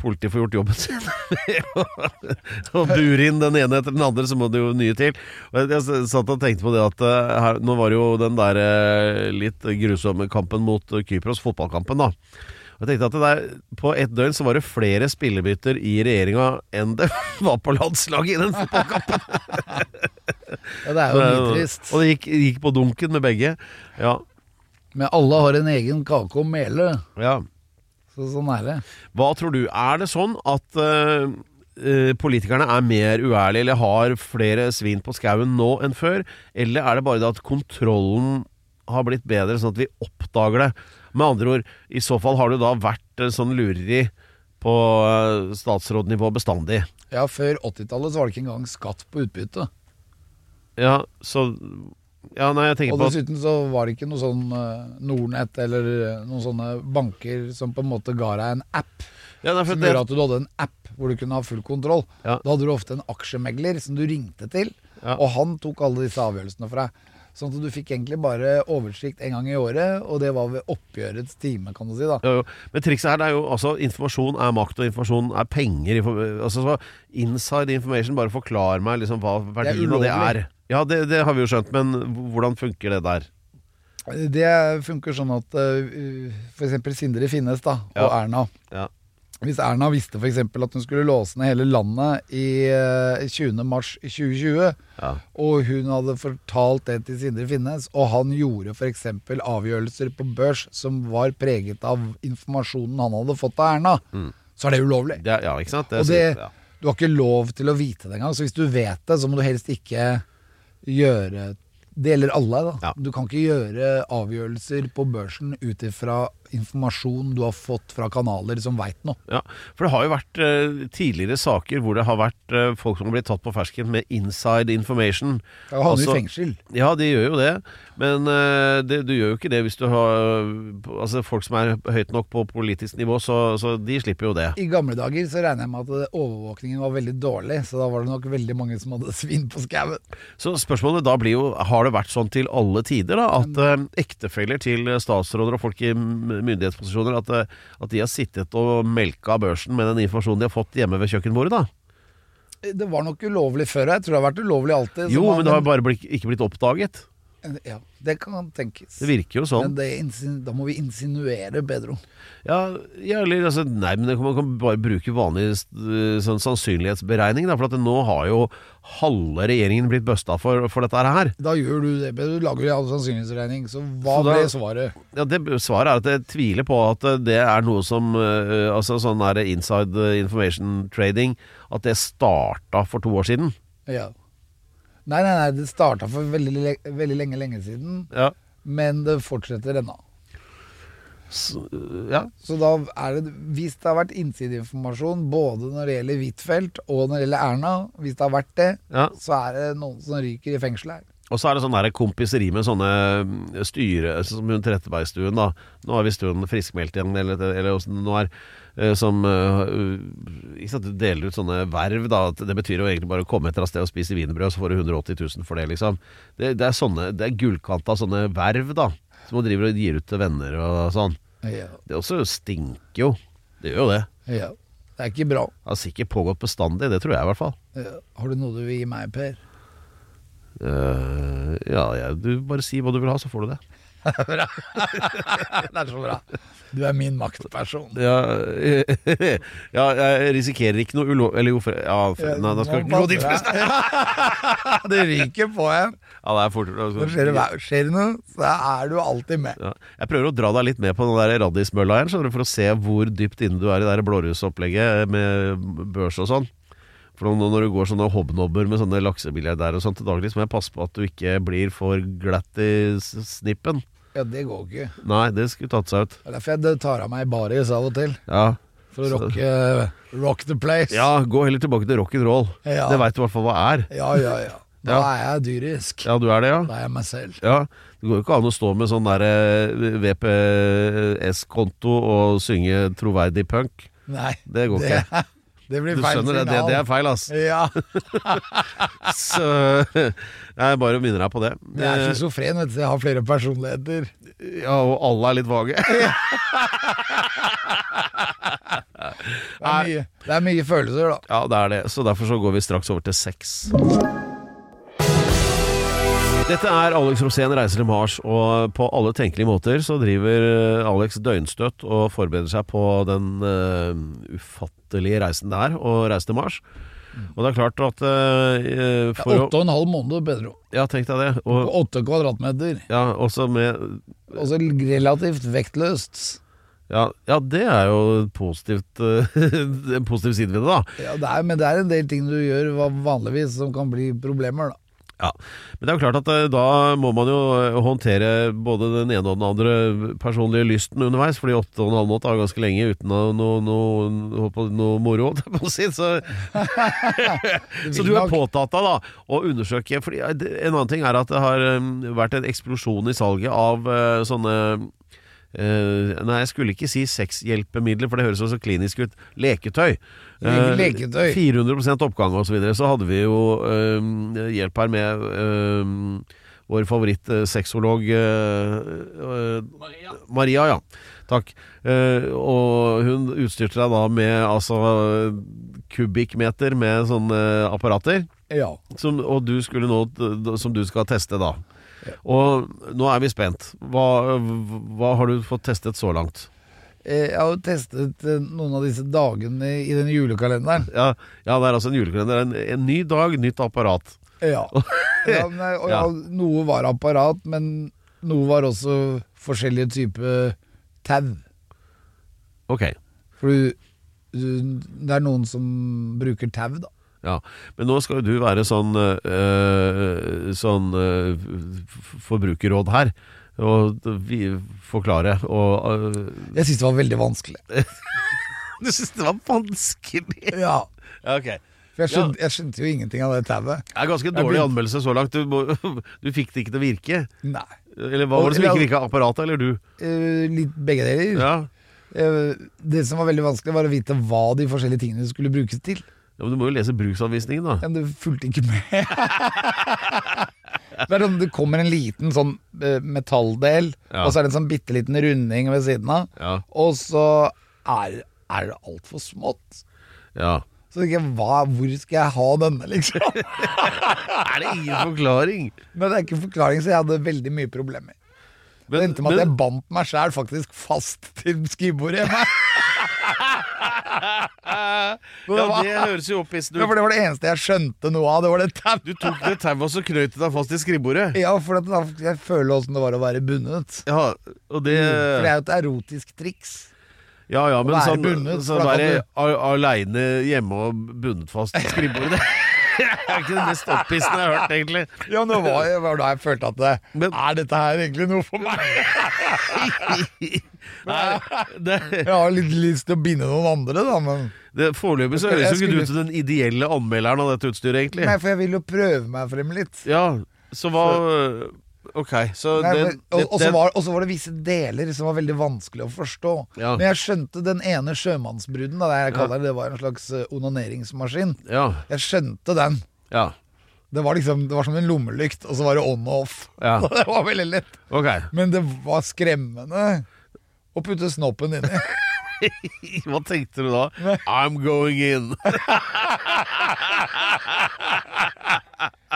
Speaker 2: politiet får gjort jobben [laughs] sin. og burer inn den ene etter den andre, så må det jo nye til. Og jeg, jeg satt og tenkte på det at eh, her, Nå var det jo den der eh, litt grusomme kampen mot eh, Kypros, fotballkampen, da. Og Jeg tenkte at det der, På ett døgn så var det flere spillebytter i regjeringa enn det [laughs] var på landslaget i den fotballkampen.
Speaker 3: Ja, det er jo mye trist.
Speaker 2: Og det gikk, gikk på dunken med begge. Ja,
Speaker 3: Men alle har en egen kake og mele,
Speaker 2: ja.
Speaker 3: så sånn er det.
Speaker 2: Hva tror du? Er det sånn at eh, eh, politikerne er mer uærlige eller har flere svin på skauen nå enn før? Eller er det bare det at kontrollen har blitt bedre, sånn at vi oppdager det? Med andre ord, i så fall har du da vært eh, sånn lureri på eh, statsrådnivå bestandig.
Speaker 3: Ja, Før 80-tallet så var det ikke engang skatt på utbytte.
Speaker 2: Ja, så Ja, nei, jeg tenker
Speaker 3: Og
Speaker 2: på at
Speaker 3: dessuten så var det ikke noe sånn eh, Nordnett eller eh, noen sånne banker som på en måte ga deg en app.
Speaker 2: ja, nei, for
Speaker 3: Som
Speaker 2: det,
Speaker 3: gjorde at du hadde en app hvor du kunne ha full kontroll.
Speaker 2: Ja.
Speaker 3: Da hadde du ofte en aksjemegler som du ringte til,
Speaker 2: Ja.
Speaker 3: og han tok alle disse avgjørelsene for deg. Sånn at du fikk egentlig bare oversikt en gang i året, og det var ved oppgjørets time, kan du si. da.
Speaker 2: Jo, jo. Men trikset her det er jo altså informasjon er makt, og informasjon er penger. Info- Altså, så Inside information, bare forklar meg liksom hva verdien av det er.
Speaker 3: ulovlig.
Speaker 2: Ja, det, det har vi jo skjønt, men hvordan funker det der?
Speaker 3: Det funker sånn at eh, for f.eks. Sindre Finnes da, og
Speaker 2: Ja.
Speaker 3: Erna.
Speaker 2: Ja.
Speaker 3: Hvis Erna visste f.eks. at hun skulle låse ned hele landet i eh, 20. mars 2020,
Speaker 2: Ja.
Speaker 3: og hun hadde fortalt det til Sindre Finnes, og han gjorde f.eks. avgjørelser på børs som var preget av informasjonen han hadde fått av Erna, så er det ulovlig.
Speaker 2: Mm. Det, er- ja, ikke sant? Det,
Speaker 3: og det,
Speaker 2: sier- ja.
Speaker 3: du har ikke lov til å vite det engang, så hvis du vet det, så må du helst ikke gjøre Det gjelder alle, da.
Speaker 2: Ja.
Speaker 3: Du kan ikke gjøre avgjørelser på børsen ut ifra informasjon du har fått fra kanaler som veit noe.
Speaker 2: Ja, for det har jo vært eh, tidligere saker hvor det har vært eh, folk som har blitt tatt på fersken med inside information.
Speaker 3: Da havner du
Speaker 2: Altså-
Speaker 3: i fengsel.
Speaker 2: Ja, de gjør jo det, men eh, det, du gjør jo ikke det hvis du har Altså, folk som er høyt nok på politisk nivå, så, så de slipper jo det.
Speaker 3: I gamle dager så regner jeg med at overvåkningen var veldig dårlig, så da var det nok veldig mange som hadde [laughs] svin på skauen.
Speaker 2: Så spørsmålet da blir jo, har det vært sånn til alle tider da, at eh, ektefeller til statsråder og folk i m- myndighetsposisjoner, at, eh, at de har sittet og melka børsen med den informasjonen de har fått hjemme ved kjøkkenbordet da?
Speaker 3: Det var nok ulovlig før, jeg tror det har vært ulovlig alltid. så
Speaker 2: Jo,
Speaker 3: man-
Speaker 2: men det har bare blitt, ikke blitt oppdaget.
Speaker 3: Ja, det kan tenkes.
Speaker 2: Det virker jo
Speaker 3: Men
Speaker 2: sånn.
Speaker 3: det insin- da må vi insinuere bedre.
Speaker 2: Ja, ja eller altså, nei, men det- man kan bare bruke vanlig eh, sånn sannsynlighetsberegning da, for at nå har jo halve regjeringen blitt bøsta for, for dette her.
Speaker 3: Da gjør du det, Peder. du lager jo all sannsynlighetsregning, så hva
Speaker 2: Så da-
Speaker 3: ble svaret?
Speaker 2: Ja, det Svaret er at jeg tviler på at eh, det er noe som eh, Altså sånn der inside eh, information trading At det starta for to år siden.
Speaker 3: Ja. Nei, nei, nei, det starta for veldig, le- veldig lenge, lenge siden,
Speaker 2: Ja.
Speaker 3: men det fortsetter ennå.
Speaker 2: ja.
Speaker 3: Så da er det, hvis det har vært innsideinformasjon både når det gjelder Huitfeldt og når det gjelder Erna, hvis det har vært det,
Speaker 2: Ja.
Speaker 3: så er det noen som ryker i fengsel her.
Speaker 2: Og så er det sånn der kompiseri med sånne mm, styre Som hun Trettebergstuen, da. Nå er visst hun friskmeldt igjen, eller, eller åssen det nå er. eh, Som eh, ikke sant, deler ut sånne verv, da. at Det betyr jo egentlig bare å komme etter av sted og spise wienerbrød, så får du 180 000 for det, liksom. Det, det er sånne Det er gullkanta sånne verv, da. Som hun driver og gir ut til venner og sånn.
Speaker 3: Ja,
Speaker 2: Det også stinker jo. Det gjør jo det.
Speaker 3: ja. Det er ikke bra.
Speaker 2: Det har sikkert pågått bestandig, det tror jeg i hvert fall.
Speaker 3: Ja. Har du noe du vil gi meg, Per?
Speaker 2: Eh, ja, ja, du bare si hva du vil ha, så får du det.
Speaker 3: Bra. det er så bra. Du er min maktperson.
Speaker 2: Ja, [laughs] ja, jeg risikerer ikke noe ulo... Eller jo, for, ja, for, nei, da skal
Speaker 3: Nå
Speaker 2: jeg
Speaker 3: passer jeg. [laughs] Det ryker på en.
Speaker 2: Ja, det er fort. altså,
Speaker 3: Når skjer det hver- skjer det noe, så er du alltid med.
Speaker 2: Ja. Jeg prøver å dra deg litt med på den der raddismølla her, skjønner du, for å se hvor dypt inne du er i det der blårusopplegget med børs og sånn. For nå- når du går sånne hobnobber med sånne laksebilliardærer og sånn til daglig, så må jeg passe på at du ikke blir for glatt i s- snippen.
Speaker 3: Ja, det går ikke. Det
Speaker 2: Nei, det skulle tatt seg ut.
Speaker 3: er derfor jeg tar av meg baris av og til.
Speaker 2: Ja,
Speaker 3: For å
Speaker 2: Så-
Speaker 3: rocke eh, rock the place.
Speaker 2: ja gå heller tilbake til rock'n'roll.
Speaker 3: Ja.
Speaker 2: Det veit du i hvert fall hva er.
Speaker 3: ja, ja. ja. Da er jeg dyrisk.
Speaker 2: Ja, du er det, ja?
Speaker 3: Da er jeg meg selv.
Speaker 2: Ja, Det går jo ikke an å stå med sånn der eh, VPS-konto og synge troverdig punk.
Speaker 3: Nei.
Speaker 2: Det går ikke.
Speaker 3: [laughs] Det blir
Speaker 2: Du
Speaker 3: feil
Speaker 2: skjønner det, det, det er feil, ass.
Speaker 3: Ja.
Speaker 2: Så [laughs] jeg bare minner deg på det.
Speaker 3: Jeg er schizofren, vet du. Jeg har flere personligheter.
Speaker 2: Eh, Ja, og alle er litt vage.
Speaker 3: Det er mye, det er mye følelser, da.
Speaker 2: Ja, det er det. Så derfor så går vi straks over til sex. Dette er Alex Rosén reiser til Mars, og på alle tenkelige måter så driver eh, Alex døgnstøtt og forbereder seg på den eh, ufattelige reisen det er å reise til Mars. Og det er klart at eh,
Speaker 3: Det
Speaker 2: for
Speaker 3: er
Speaker 2: å,
Speaker 3: åtte og en halv måned bedre.
Speaker 2: Ja, tenk deg det. Og,
Speaker 3: Åtte kvadratmeter.
Speaker 2: ja, også med
Speaker 3: Og så relativt vektløst.
Speaker 2: Ja, ja det er jo et positivt [laughs] eh, En positiv side ved det, da.
Speaker 3: Ja, det er, men det er en del ting du gjør va- vanligvis som kan bli problemer, da.
Speaker 2: Ja. Men det er jo klart at eh, da må man jo eh, håndtere både den ene og den andre personlige lysten underveis, fordi åtte og en halv måned er jo ganske lenge uten noe, noe, noe, holdt på- noe moro, holdt jeg på å si. Så, så du er
Speaker 3: nok.
Speaker 2: påtatt av da å undersøke fordi eh, det- En annen ting er at det har eh, vært en eksplosjon i salget av eh, sånne eh, nei, jeg skulle ikke si sexhjelpemidler, for det høres jo så klinisk ut. Leketøy. Eh,
Speaker 3: Leketøy.
Speaker 2: 400 oppgang og så videre, så hadde vi jo eh, hjelp her med eh, vår favorittsexolog Maria. Maria, ja. Takk. Eh, og hun utstyrte deg da med altså kubikkmeter med sånne apparater.
Speaker 3: Ja.
Speaker 2: Som, og du skulle nå, som du skal teste da. Og nå er vi spent. Hva, hva har du fått testet så langt?
Speaker 3: Eh, Jeg har jo testet eh, noen av disse dagene i den julekalenderen.
Speaker 2: Ja, ja det er altså en julekalender. En, en ny dag, nytt apparat.
Speaker 3: Ja.
Speaker 2: [laughs]
Speaker 3: ja, men, jeg- og ja.
Speaker 2: Ja.
Speaker 3: Noe var apparat, men noe var også forskjellige typer tau.
Speaker 2: Ok.
Speaker 3: For du, du, det er noen som bruker tau, da.
Speaker 2: Ja, Men nå skal jo du være sånn øh, Sånn øh, f- forbrukerråd her. Og vi forklare og øh,
Speaker 3: Jeg syns det var veldig vanskelig.
Speaker 2: Du syns det var vanskelig?
Speaker 3: Ja.
Speaker 2: Ja, ok.
Speaker 3: For jeg skjønte, jeg skjønte jo ingenting av det tauet.
Speaker 2: Det er ganske dårlig anmeldelse så langt. Du, må, [laughs] du fikk det ikke til å virke.
Speaker 3: Nei.
Speaker 2: Eller hva var det som ikke virka? Apparatet eller du?
Speaker 3: Eh, litt begge deler.
Speaker 2: Ja.
Speaker 3: Eh, det som var veldig vanskelig, var å vite hva de forskjellige tingene skulle brukes til.
Speaker 2: ja, Men du må jo lese bruksanvisningen, da.
Speaker 3: Men det fulgte ikke med. [laughs] det er sånn, det kommer en liten sånn eh, metalldel,
Speaker 2: Ja.
Speaker 3: og så er det en sånn bitte liten runding ved siden av.
Speaker 2: Ja.
Speaker 3: Og så er, er det altfor smått.
Speaker 2: Ja.
Speaker 3: Så tenker jeg, hva, hvor skal jeg ha denne, liksom?
Speaker 2: [laughs] Er det [laughs] ingen forklaring?
Speaker 3: Men det er ikke en forklaring, så jeg hadde veldig mye problemer. Det endte med at jeg bandt meg sjæl faktisk fast til skrivebordet hjemme. [laughs]
Speaker 2: ja, det høres jo
Speaker 3: Ja,
Speaker 2: opphissende
Speaker 3: for
Speaker 2: ut.
Speaker 3: det var det eneste jeg skjønte noe av. Det var det
Speaker 2: Du
Speaker 3: tauet.
Speaker 2: tok det tauet og så knøt du deg fast i skrivebordet.
Speaker 3: Ja, for at da, jeg føler åssen det var å være bundet.
Speaker 2: Ja, og Mm, det
Speaker 3: For det er jo et erotisk triks.
Speaker 2: Ja ja, men
Speaker 3: Å være
Speaker 2: sånn,
Speaker 3: bundet,
Speaker 2: sånn
Speaker 3: for da kan
Speaker 2: være
Speaker 3: du-
Speaker 2: al- aleine hjemme og bundet fast i skrivebordet [laughs] Det er ikke det mest opphissende jeg har hørt, egentlig.
Speaker 3: Ja, men det var, det var da jeg følte at det,
Speaker 2: Men-
Speaker 3: Er dette her egentlig noe for meg?
Speaker 2: [laughs] Nei, det,
Speaker 3: Jeg har litt lyst til å binde noen andre, da, men
Speaker 2: det, foreløpig så høres jo ikke du ut som den ideelle anmelderen av dette utstyret, egentlig.
Speaker 3: Nei, for jeg vil jo prøve meg frem litt.
Speaker 2: Ja, så hva øh, Ok, så
Speaker 3: Nei,
Speaker 2: den,
Speaker 3: men- og- Og så
Speaker 2: den-
Speaker 3: var, og så var det visse deler som var veldig vanskelig å forstå.
Speaker 2: Ja.
Speaker 3: Men jeg skjønte den ene sjømannsbruden, da, det jeg kaller det, det var en slags eh, onaneringsmaskin.
Speaker 2: Ja,
Speaker 3: Jeg skjønte den.
Speaker 2: ja,
Speaker 3: Det var liksom, det var som en lommelykt, og så var det on og off.
Speaker 2: Ja.
Speaker 3: [laughs] det var veldig lett.
Speaker 2: ok
Speaker 3: [laughs] Men det var skremmende å putte snoppen inni.
Speaker 2: Hva tenkte du da? I'm going in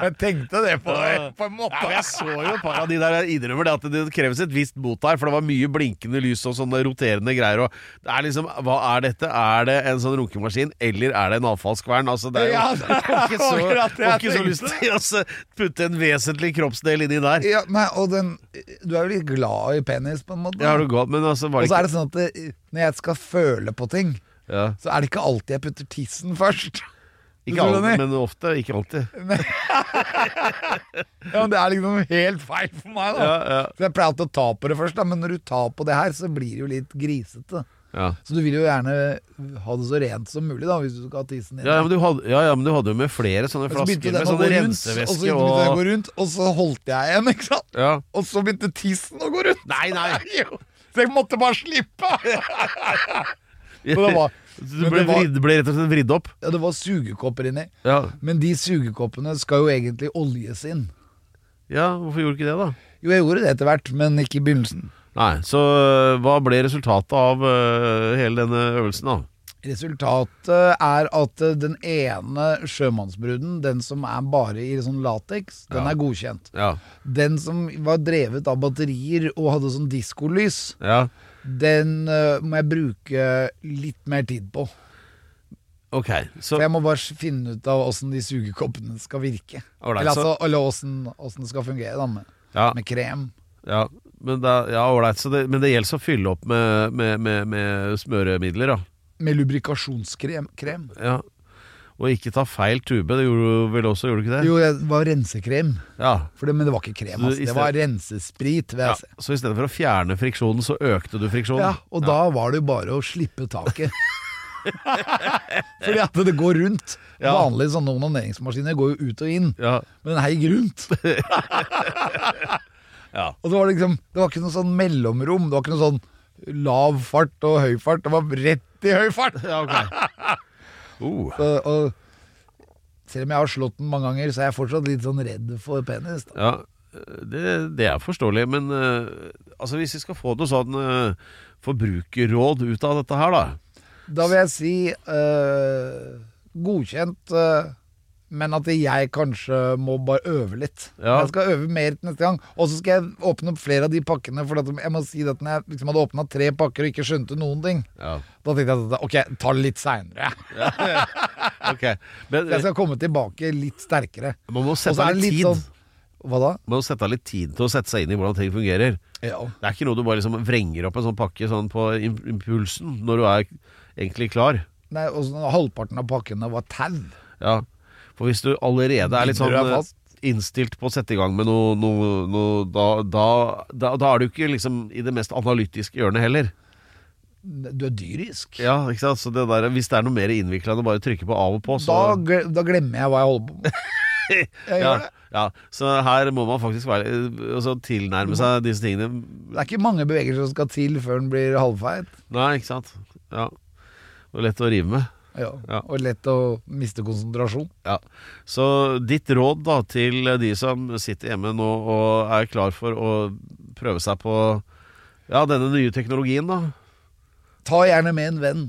Speaker 3: Jeg tenkte det på, på en måte.
Speaker 2: Ja, og jeg så jo et par av de der. Jeg innrømmer det at det kreves et visst bot der, for det var mye blinkende lys og sånne roterende greier. Og det er liksom, hva er dette? Er det en sånn runkemaskin, eller er det en avfallskvern? Altså, det er jo
Speaker 3: Ja, det er
Speaker 2: [laughs] jeg har ikke
Speaker 3: akkurat
Speaker 2: så,
Speaker 3: det jeg
Speaker 2: jeg har ikke så
Speaker 3: tenkte.
Speaker 2: lyst til å altså, putte en vesentlig kroppsdel inni der.
Speaker 3: Ja, nei, og den, du er jo litt glad i penis, på en måte.
Speaker 2: Ja, har du gått, men altså, var
Speaker 3: og
Speaker 2: det
Speaker 3: så
Speaker 2: ikke
Speaker 3: er det sånn at det, når jeg skal føle på ting,
Speaker 2: ja.
Speaker 3: så er det ikke alltid jeg putter tissen først. [laughs]
Speaker 2: Ikke
Speaker 3: sånn, skjønner
Speaker 2: alltid,
Speaker 3: jeg.
Speaker 2: men ofte. Ikke alltid.
Speaker 3: Ja, men Det er liksom helt feil for meg, da.
Speaker 2: Ja, ja.
Speaker 3: Så jeg pleier alltid å ta på det først, da, men når du tar på det her, så blir det jo litt grisete.
Speaker 2: Ja.
Speaker 3: Så du vil jo gjerne ha det så rent som mulig, da, hvis du skal ha tissen din.
Speaker 2: Ja, ja, men du hadde, ja, ja, men du hadde jo med flere sånne
Speaker 3: Og så begynte
Speaker 2: flasker med sånne
Speaker 3: den å gå rundt, og så
Speaker 2: rensevæske
Speaker 3: begynte den å gå
Speaker 2: og
Speaker 3: rundt, og så holdt jeg igjen, [laughs] ikke sant?
Speaker 2: ja.
Speaker 3: Og så begynte tissen å gå rundt. [laughs]
Speaker 2: Nei, nei.
Speaker 3: Jo. Så jeg måtte bare slippe. Men det var,
Speaker 2: [laughs] Du
Speaker 3: men
Speaker 2: ble,
Speaker 3: det var-
Speaker 2: vridd, ble rett og slett vridd opp.
Speaker 3: ja, det var sugekopper inni.
Speaker 2: Ja.
Speaker 3: Men de sugekoppene skal jo egentlig oljes inn.
Speaker 2: ja, hvorfor gjorde du ikke det, da?
Speaker 3: Jo, jeg gjorde det etter hvert, men ikke i begynnelsen.
Speaker 2: Nei, så øh, hva ble resultatet av øh, hele denne øvelsen da?
Speaker 3: Resultatet er at eh, den ene sjømannsbruden, den som er bare i sånn lateks, den
Speaker 2: Ja.
Speaker 3: er godkjent.
Speaker 2: Ja,
Speaker 3: Den som var drevet av batterier og hadde sånn diskolys,
Speaker 2: ja.
Speaker 3: den eh, må jeg bruke litt mer tid på.
Speaker 2: Ok, så,
Speaker 3: For jeg må bare finne ut av åssen de sugekoppene skal virke.
Speaker 2: Ålreit,
Speaker 3: eller altså,
Speaker 2: så-
Speaker 3: eller åssen åssen det skal fungere, da, med,
Speaker 2: ja,
Speaker 3: med krem.
Speaker 2: ja, men, da, ja alright, så det, men det gjelder å fylle opp med, med, med, med smøremidler da
Speaker 3: Med lubrikasjonskrem. Krem.
Speaker 2: ja. Og ikke ta feil tube, det gjorde du vel også, gjorde du ikke det?
Speaker 3: Jo, det var rensekrem.
Speaker 2: Ja,
Speaker 3: For det, men det var ikke krem,
Speaker 2: Så
Speaker 3: altså.
Speaker 2: i
Speaker 3: det var rensesprit. Vil
Speaker 2: ja.
Speaker 3: jeg si.
Speaker 2: Så i stedet for å fjerne friksjonen, så økte du friksjonen
Speaker 3: Ja, og da var det jo bare å slippe
Speaker 2: [laughs]
Speaker 3: taket. Fordi at det går rundt.
Speaker 2: Ja.
Speaker 3: Vanlige sånne onaneringsmaskiner går jo ut og inn,
Speaker 2: Ja,
Speaker 3: men den her gikk rundt.
Speaker 2: Ja.
Speaker 3: Og det var liksom Det var ikke noe sånn mellomrom. Det var ikke noe sånn lav fart og høy fart. Det var rett i høy fart!
Speaker 2: ja ok [laughs] uh.
Speaker 3: Så, og selv om jeg har slått den mange ganger, så er jeg fortsatt litt sånn redd for penis. Da.
Speaker 2: Ja, eh, det, det er forståelig, men eh, altså hvis vi skal få noe sånn eh, forbrukerråd ut av dette her, da
Speaker 3: Da vil jeg si eh, godkjent, eh, men at jeg kanskje må bare øve litt.
Speaker 2: Ja.
Speaker 3: Jeg skal øve mer til neste gang. Og så skal jeg åpne opp flere av de pakkene, for at jeg må si det at når jeg liksom hadde åpna tre pakker og ikke skjønte noen ting,
Speaker 2: Ja,
Speaker 3: da tenkte jeg at ok, ta det litt seinere.
Speaker 2: ok Men
Speaker 3: [laughs]
Speaker 2: eh,
Speaker 3: Jeg skal komme tilbake litt sterkere.
Speaker 2: man må
Speaker 3: Og så
Speaker 2: sette
Speaker 3: er
Speaker 2: av
Speaker 3: det
Speaker 2: litt
Speaker 3: litt
Speaker 2: tid
Speaker 3: sånn Hva da?
Speaker 2: Man eh, må sette av litt tid til å sette seg inn i hvordan ting fungerer Det
Speaker 3: Ja.
Speaker 2: er ikke noe du bare liksom vrenger opp en sånn pakke sånn på im- impulsen Når du er egentlig klar
Speaker 3: Nei, og så halvparten av pakkene var tau.
Speaker 2: Ja, for hvis du allerede er litt sånn
Speaker 3: Binder deg
Speaker 2: eh,
Speaker 3: fast.
Speaker 2: innstilt på å sette i gang med noe, noe, noe da, da, da, da er du ikke liksom i det mest analytiske hjørnet heller
Speaker 3: Du er dyrisk.
Speaker 2: Ja, ikke sant? Så det der, hvis det er noe mer innvikla enn å bare trykke på av og på, så
Speaker 3: Da, gle- da glemmer jeg hva jeg holder på med. Jeg
Speaker 2: [laughs] ja,
Speaker 3: gjør det.
Speaker 2: ja. Så her må man faktisk være, altså, tilnærme seg disse tingene.
Speaker 3: Det er ikke mange bevegelser som skal til før den blir halvfeit.
Speaker 2: Nei, ikke sant? Ja. Og lett å rive med.
Speaker 3: Ja.
Speaker 2: Ja.
Speaker 3: Og lett å miste konsentrasjon.
Speaker 2: Ja. Så ditt råd da til de som sitter hjemme nå og er klar for å prøve seg på ja, denne nye teknologien, da.
Speaker 3: Ta gjerne med en venn,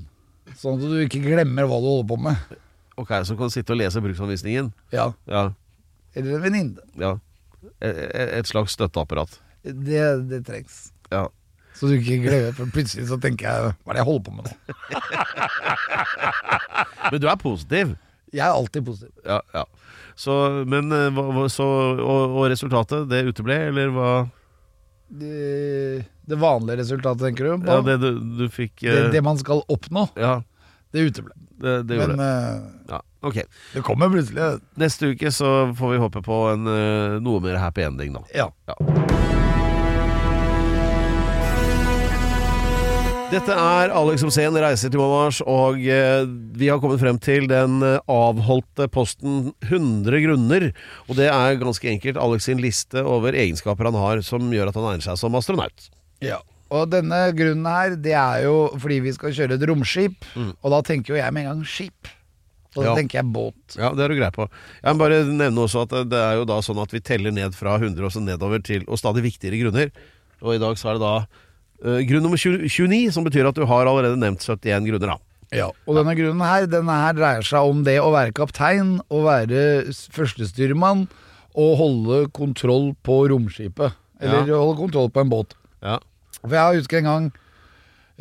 Speaker 3: sånn at du ikke glemmer hva du holder på med.
Speaker 2: Ok, Som kan sitte og lese bruksanvisningen.
Speaker 3: Ja.
Speaker 2: Ja.
Speaker 3: Eller en venninne.
Speaker 2: ja. E, Et et slags støtteapparat.
Speaker 3: Det, det trengs.
Speaker 2: Ja.
Speaker 3: Så du ikke glemmer, for plutselig så tenker jeg Hva er det jeg holder på med nå?
Speaker 2: Men du er positiv?
Speaker 3: Jeg er alltid positiv.
Speaker 2: ja, ja. Så, men, eh, hva, hva- så, og, og resultatet, det uteble, eller hva?
Speaker 3: Det, det vanlige resultatet, tenker du? På?
Speaker 2: Ja, det du, du fikk
Speaker 3: det,
Speaker 2: eh,
Speaker 3: det man skal oppnå,
Speaker 2: Ja,
Speaker 3: det uteble.
Speaker 2: det, det gjorde
Speaker 3: Men
Speaker 2: det.
Speaker 3: eh,
Speaker 2: Ja, ok.
Speaker 3: det kommer plutselig.
Speaker 2: Neste uke så får vi håpe på en, eh, noe mer happy ending, da.
Speaker 3: Ja.
Speaker 2: Dette er Alex Rosén, reiser til Mammas, og eh, vi har kommet frem til den eh, avholdte posten 100 grunner. Og det er ganske enkelt Alex sin liste over egenskaper han har som gjør at han egner seg som astronaut.
Speaker 3: Ja. Og denne grunnen her, det er jo fordi vi skal kjøre et romskip, og da tenker jo jeg med en gang skip. Og da
Speaker 2: Mm. Ja.
Speaker 3: tenker jeg båt.
Speaker 2: Ja, det er du grei på. Jeg må bare nevne også at det er jo da sånn at vi teller ned fra 100 og så nedover til og stadig viktigere grunner. Og i dag så er det da eh, grunn nummer 20 29, som betyr at du har allerede nevnt 71 grunner, da.
Speaker 3: Ja, og denne grunnen her, denne her dreier seg om det å være kaptein, å være s- førstestyrmann og holde kontroll på romskipet. Eller
Speaker 2: Ja.
Speaker 3: holde kontroll på en båt.
Speaker 2: Ja.
Speaker 3: For jeg husker en gang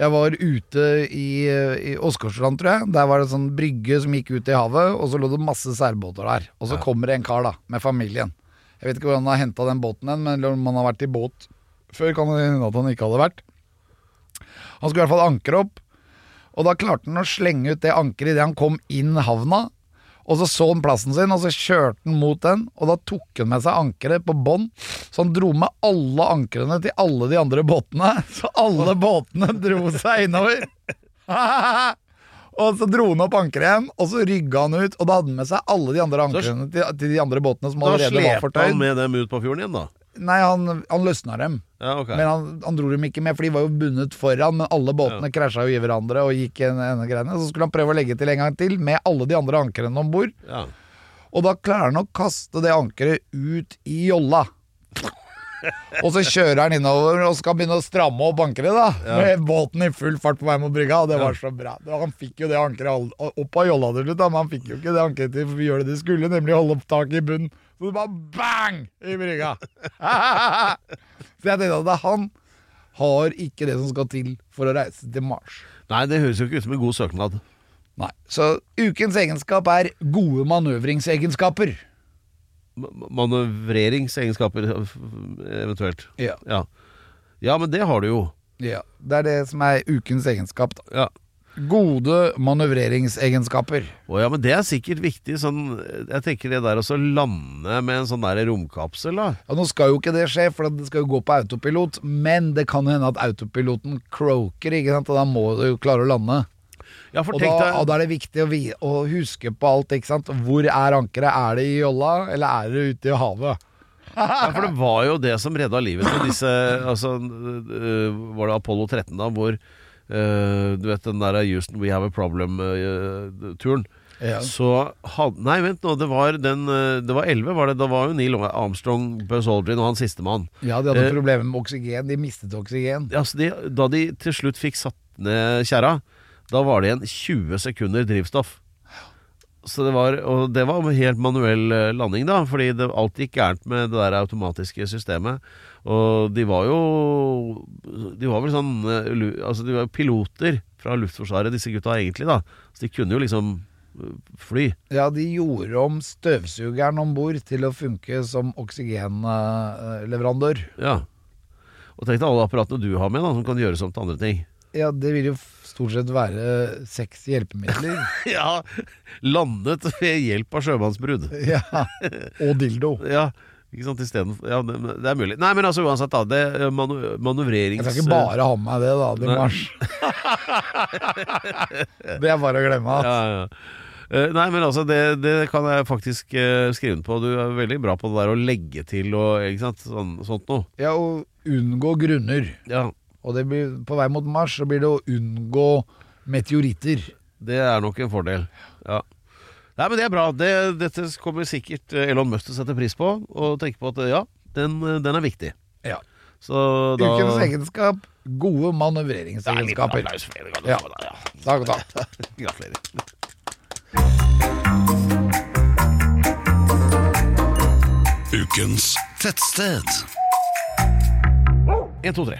Speaker 3: jeg var ute i, i Åsgårdstrand, tror jeg. Der var det en sånn brygge som gikk ut i havet, og så lå det masse seilbåter der. Og så kommer det en kar da, med familien. Jeg vet ikke hvor han har henta den båten hen, men om han har vært i båt før, kan det hende at han ikke hadde vært. Han skulle i hvert fall ankre opp, og da klarte han å slenge ut det ankeret idet han kom inn havna. Og så så han plassen sin, og så kjørte han mot den, og da tok han med seg ankeret på bånd, så han dro med alle ankrene til alle de andre båtene, [laughs] så alle båtene dro seg innover. [laughs] og så dro han opp ankeret igjen, og så rygga han ut, og da hadde han med seg alle de andre ankrene til, til de andre båtene som
Speaker 2: Da
Speaker 3: allerede var
Speaker 2: slepte han
Speaker 3: fortøyd.
Speaker 2: med dem ut på fjorden igjen, da.
Speaker 3: Nei, han, han løsna dem.
Speaker 2: Ja, ok.
Speaker 3: Men han, han dro dem ikke med, for de var jo bundet foran. Men alle båtene krasja jo i hverandre og gikk en, en greiene. Så skulle han prøve å legge til en gang til, med alle de andre ankrene om bord.
Speaker 2: Ja.
Speaker 3: Og da klarer han å kaste det ankeret ut i jolla. Og så kjører han innover og skal begynne å stramme opp ankeret. da Med båten i full fart på vei mot brygga, og det var så bra. Det var- Han fikk jo det ankeret all- opp av jolla til slutt, da, men han fikk jo ikke det ankeret til å gjøre det de skulle, nemlig holde opp taket i bunnen. Så det bare bang i brygga! så jeg tenkte at det er han har ikke det som skal til for å reise til Mars.
Speaker 2: Nei, det høres jo ikke ut som en god søknad.
Speaker 3: Nei. Så ukens egenskap er gode manøvringsegenskaper.
Speaker 2: Ma- Manøvreringsegenskaper, f- eventuelt.
Speaker 3: Ja.
Speaker 2: Ja. ja, men det har du jo.
Speaker 3: Ja, Det er det som er ukens egenskap. da
Speaker 2: Ja.
Speaker 3: Gode manøvreringsegenskaper.
Speaker 2: Å ja, men det er sikkert viktig. Sånn, jeg tenker det der å så lande med en sånn der romkapsel, da.
Speaker 3: Ja, nå skal jo ikke det skje, for det skal jo gå på autopilot, men det kan jo hende at autopiloten croaker, ikke sant? og da må du jo klare å lande.
Speaker 2: Ja, for
Speaker 3: Og
Speaker 2: tenk
Speaker 3: da,
Speaker 2: deg
Speaker 3: og da er det viktig å, vi, å huske på alt, ikke sant. Hvor er ankeret? Er det i jolla, eller er det ute i havet?
Speaker 2: Ja, for det var jo det som redda livet til disse [laughs] altså, øh, Var det Apollo 13 da, hvor øh, Du vet den der Houston We Have A Problem-turen.
Speaker 3: Ja.
Speaker 2: Så hadde Nei, vent nå. Det var den øh, Det var 11, var det? Da var jo Neil Armstrong, Buzz Aldrin og han sistemann.
Speaker 3: Ja, de hadde
Speaker 2: Eh.
Speaker 3: problemer med oksygen. De mistet oksygen.
Speaker 2: Altså, de, da de til slutt fikk satt ned kjerra, da var det igjen 20 sekunder drivstoff. Så det var, og det var helt manuell eh, landing, da, fordi det, alt gikk gærent med det der automatiske systemet. Og de var jo De var vel sånn eh, lu- Altså, de var jo piloter fra Luftforsvaret, disse gutta, egentlig, da. Så de kunne jo liksom eh, fly.
Speaker 3: Ja, de gjorde om støvsugeren om bord til å funke som oksygenleverandør.
Speaker 2: Ja. Og tenk deg alle apparatene du har med, da, som kan gjøres om til andre ting.
Speaker 3: Ja, det vil jo f- stort sett være seks hjelpemidler.
Speaker 2: Ja, landet ved hjelp av sjømannsbrudd.
Speaker 3: ja. Og dildo.
Speaker 2: Ja, ikke sant, i stedet for- ja, det, det er mulig Nei, men altså uansett da det, eh, manu, Manøvrerings...
Speaker 3: Jeg skal ikke bare ha med meg det, da, til
Speaker 2: Nei.
Speaker 3: mars. det er bare å glemme.
Speaker 2: ja, ja. Eh, Nei, men altså det, det kan jeg faktisk eh, skrive under på Du er veldig bra på det der å legge til og ikke sant, sånn, sånt noe
Speaker 3: Ja, og unngå grunner.
Speaker 2: Ja,
Speaker 3: Og det blir, på vei mot mars så blir det å unngå meteoritter.
Speaker 2: det er nok en fordel Ja Nei, men det er bra det, Dette kommer sikkert eh, Elon Musk til å sette pris på Og tenke på at eh, ja, den, eh, den er viktig
Speaker 3: Ja.
Speaker 2: Så da
Speaker 3: Ukens egenskap gode
Speaker 2: Det er en liten
Speaker 3: manøvreringsegenskaper.
Speaker 2: applaus for det, kan du
Speaker 3: Ja.
Speaker 2: få da, ja.
Speaker 3: Takk, takk.
Speaker 2: Gratulerer
Speaker 5: Ukens tettsted.
Speaker 2: 1, 2, 3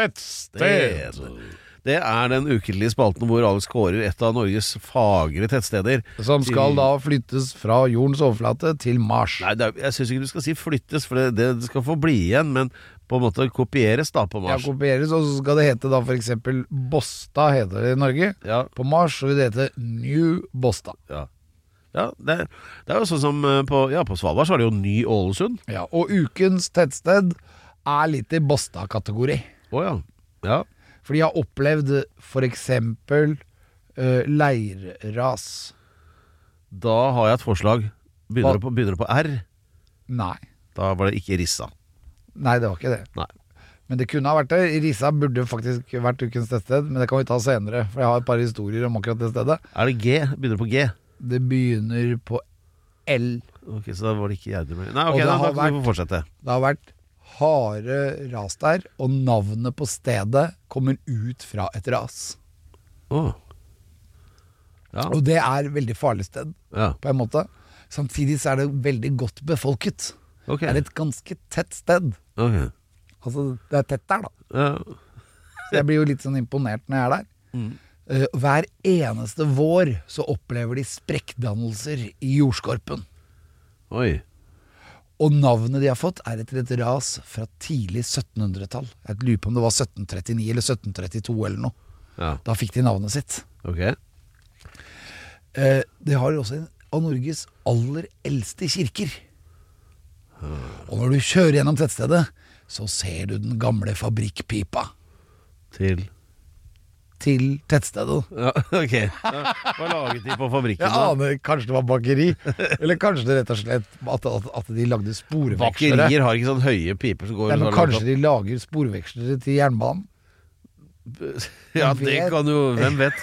Speaker 2: Tettsted. Det er den ukelige spalten hvor Alex kårer et av Norges fagre tettsteder.
Speaker 3: Som skal da flyttes fra jordens overflate til Mars.
Speaker 2: Nei, det er, jeg syns ikke du skal si flyttes, for det, det skal få bli igjen, men på en måte kopieres, da, på
Speaker 3: Ja,
Speaker 2: Mars.
Speaker 3: kopieres, og så skal det hete da for eksempel Bosta heter det i Norge.
Speaker 2: Ja.
Speaker 3: På Mars så vil det hete New Bosta.
Speaker 2: Ja, ja det, er- det er jo sånn som eh, på, ja, på Svalbard så er det jo Ny-Ålesund.
Speaker 3: Ja, og ukens tettsted er litt i Bosta-kategori.
Speaker 2: Å ja. ja.
Speaker 3: For de har opplevd for eksempel eh, leirras.
Speaker 2: Da har jeg et forslag.
Speaker 3: Hva?
Speaker 2: Begynner det på, begynner det på R?
Speaker 3: Nei.
Speaker 2: Da var det ikke Rissa.
Speaker 3: Nei, det var ikke det.
Speaker 2: Nei.
Speaker 3: Men det kunne ha vært det. Risa burde faktisk vært ukens tettsted, men det kan vi ta senere, for jeg har et par historier om akkurat det stedet.
Speaker 2: Er det G? Begynner det på G?
Speaker 3: Det begynner på L.
Speaker 2: Ok, Så da var det ikke Gjerdrum. Nei,
Speaker 3: Og
Speaker 2: ok,
Speaker 3: det
Speaker 2: da,
Speaker 3: har
Speaker 2: da kan du få
Speaker 3: vært-
Speaker 2: fortsette.
Speaker 3: Det har vært harde ras der, og navnet på stedet kommer ut fra et ras.
Speaker 2: Åh. Ja.
Speaker 3: Og det er veldig farlig sted,
Speaker 2: ja.
Speaker 3: på en måte. Samtidig så er det veldig godt befolket.
Speaker 2: Ok.
Speaker 3: Det er et ganske tett sted.
Speaker 2: Ok.
Speaker 3: Altså, det er tett der, da.
Speaker 2: Ja.
Speaker 3: Så jeg blir jo litt sånn imponert når jeg er der.
Speaker 2: Mm.
Speaker 3: Eh, hver eneste vår så opplever de sprekkdannelser i jordskorpen.
Speaker 2: Oi.
Speaker 3: Og navnet de har fått, er etter et ras fra tidlig 1700-tall. Jeg lurer på om det var 1739 eller 1732 eller noe.
Speaker 2: Ja.
Speaker 3: Da fikk de navnet sitt.
Speaker 2: Ok.
Speaker 3: Eh, det har også en av Norges aller eldste kirker. Og når du kjører gjennom tettstedet, så ser du den gamle fabrikkpipa
Speaker 2: Til
Speaker 3: til tettstedet. [laughs]
Speaker 2: Ja, ok. Ja. Hva laget de på fabrikken,
Speaker 3: Jeg
Speaker 2: da?
Speaker 3: aner kanskje det var bakeri, eller kanskje det rett og slett at, at, at de lagde sporvekslere.
Speaker 2: Bakerier har ikke sånn høye piper som går
Speaker 3: Nei,
Speaker 2: så
Speaker 3: men
Speaker 2: langt
Speaker 3: kanskje de lager sporvekslere til jernbanen.
Speaker 2: opp. [laughs] Ja, det kan jo Hvem vet?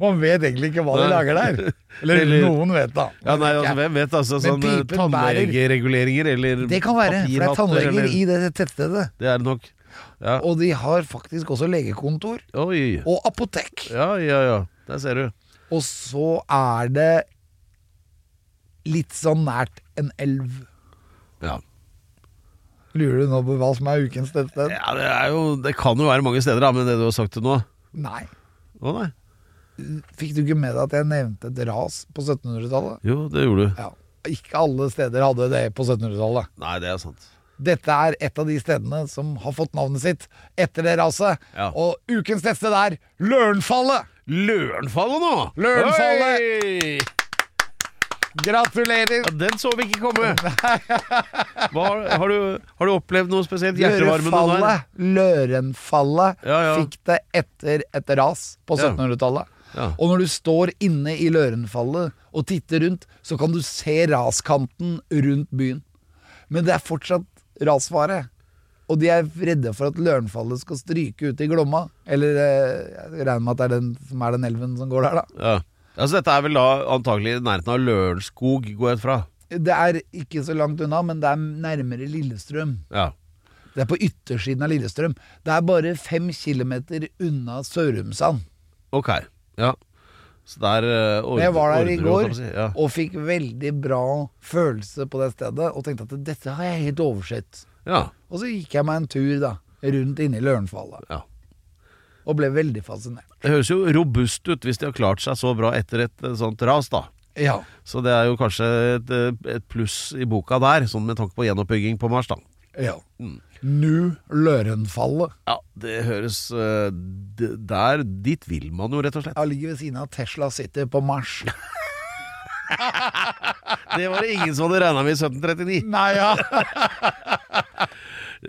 Speaker 3: Man vet egentlig ikke hva de
Speaker 2: Nei.
Speaker 3: lager der. Eller
Speaker 2: Eller-
Speaker 3: noen vet, da.
Speaker 2: Ja, nei, altså, hvem vet? Altså,
Speaker 3: Men
Speaker 2: sånn eh,
Speaker 3: pipen bærer.
Speaker 2: tannlegereguleringer eller
Speaker 3: Det kan være, for det er
Speaker 2: papirhatter,
Speaker 3: tannleger
Speaker 2: eller-
Speaker 3: i det tettstedet.
Speaker 2: Det er nok. Ja.
Speaker 3: Og de har faktisk også legekontor
Speaker 2: Oi.
Speaker 3: og apotek.
Speaker 2: Ja, ja, ja. Der ser du.
Speaker 3: Og så er det litt sånn nært en elv.
Speaker 2: Ja.
Speaker 3: Lurer du nå på hva som er ukens tettsted?
Speaker 2: ja, det er jo Det kan jo være mange steder, da, med det du har sagt til nå.
Speaker 3: Nei.
Speaker 2: Å nei.
Speaker 3: Fikk du ikke med deg at jeg nevnte et ras på 1700-tallet?
Speaker 2: Jo, det gjorde du.
Speaker 3: Ja. Ikke alle steder hadde det på 1700-tallet.
Speaker 2: Nei, det er sant.
Speaker 3: Dette er et av de stedene som har fått navnet sitt etter det raset.
Speaker 2: Ja.
Speaker 3: Og ukens tettsted er Lørenfallet!
Speaker 2: Lørenfallet nå!
Speaker 3: Lørenfallet!
Speaker 2: Oi!
Speaker 3: Gratulerer!
Speaker 2: Ja, den så vi ikke komme! Hva, har, du, har du opplevd noe spesielt hjertevarmende der?
Speaker 3: Lørenfallet, Lørenfallet
Speaker 2: Ja, ja.
Speaker 3: fikk det etter et ras på
Speaker 2: Ja.
Speaker 3: 1700-tallet.
Speaker 2: Ja.
Speaker 3: Og når du står inne i Lørenfallet og titter rundt, så kan du se raskanten rundt byen. Men det er fortsatt rasfare. Og de er redde for at Lørenfallet skal stryke ut i Glomma. Eller eh, jeg regner med at det er den som er den elven som går der, da.
Speaker 2: Ja. Altså, dette er vel da antakelig i nærheten av Lørenskog, går jeg ut fra.
Speaker 3: Det er ikke så langt unna, men det er nærmere Lillestrøm.
Speaker 2: Ja.
Speaker 3: Det er på yttersiden av Lillestrøm. Det er bare fem kilometer unna Sørumsand.
Speaker 2: Ok. Ja. Så der eh, ordner-
Speaker 3: Jeg var der i
Speaker 2: ordner du, holdt
Speaker 3: går
Speaker 2: jeg på å si. Ja.
Speaker 3: og fikk veldig bra følelse på det stedet, og tenkte at dette har jeg helt oversett.
Speaker 2: ja.
Speaker 3: Og så gikk jeg meg en tur da, rundt inne i Lørenfallet,
Speaker 2: ja.
Speaker 3: og ble veldig fascinert.
Speaker 2: Det høres jo robust ut hvis de har klart seg så bra etter et eh, sånt ras, da.
Speaker 3: Ja,
Speaker 2: Så det er jo kanskje et, eh, et pluss i boka der, sånn med tanke på gjenoppbygging på Mars, da.
Speaker 3: ja. Mm. Nu Lørenfallet.
Speaker 2: Ja, det høres eh, d- Der Dit vil man jo, rett og slett.
Speaker 3: Jeg ligger ved siden av Tesla City på
Speaker 2: [laughs]
Speaker 3: Mars.
Speaker 2: Det var det ingen som hadde regna med i 1739.
Speaker 3: Nei, ja.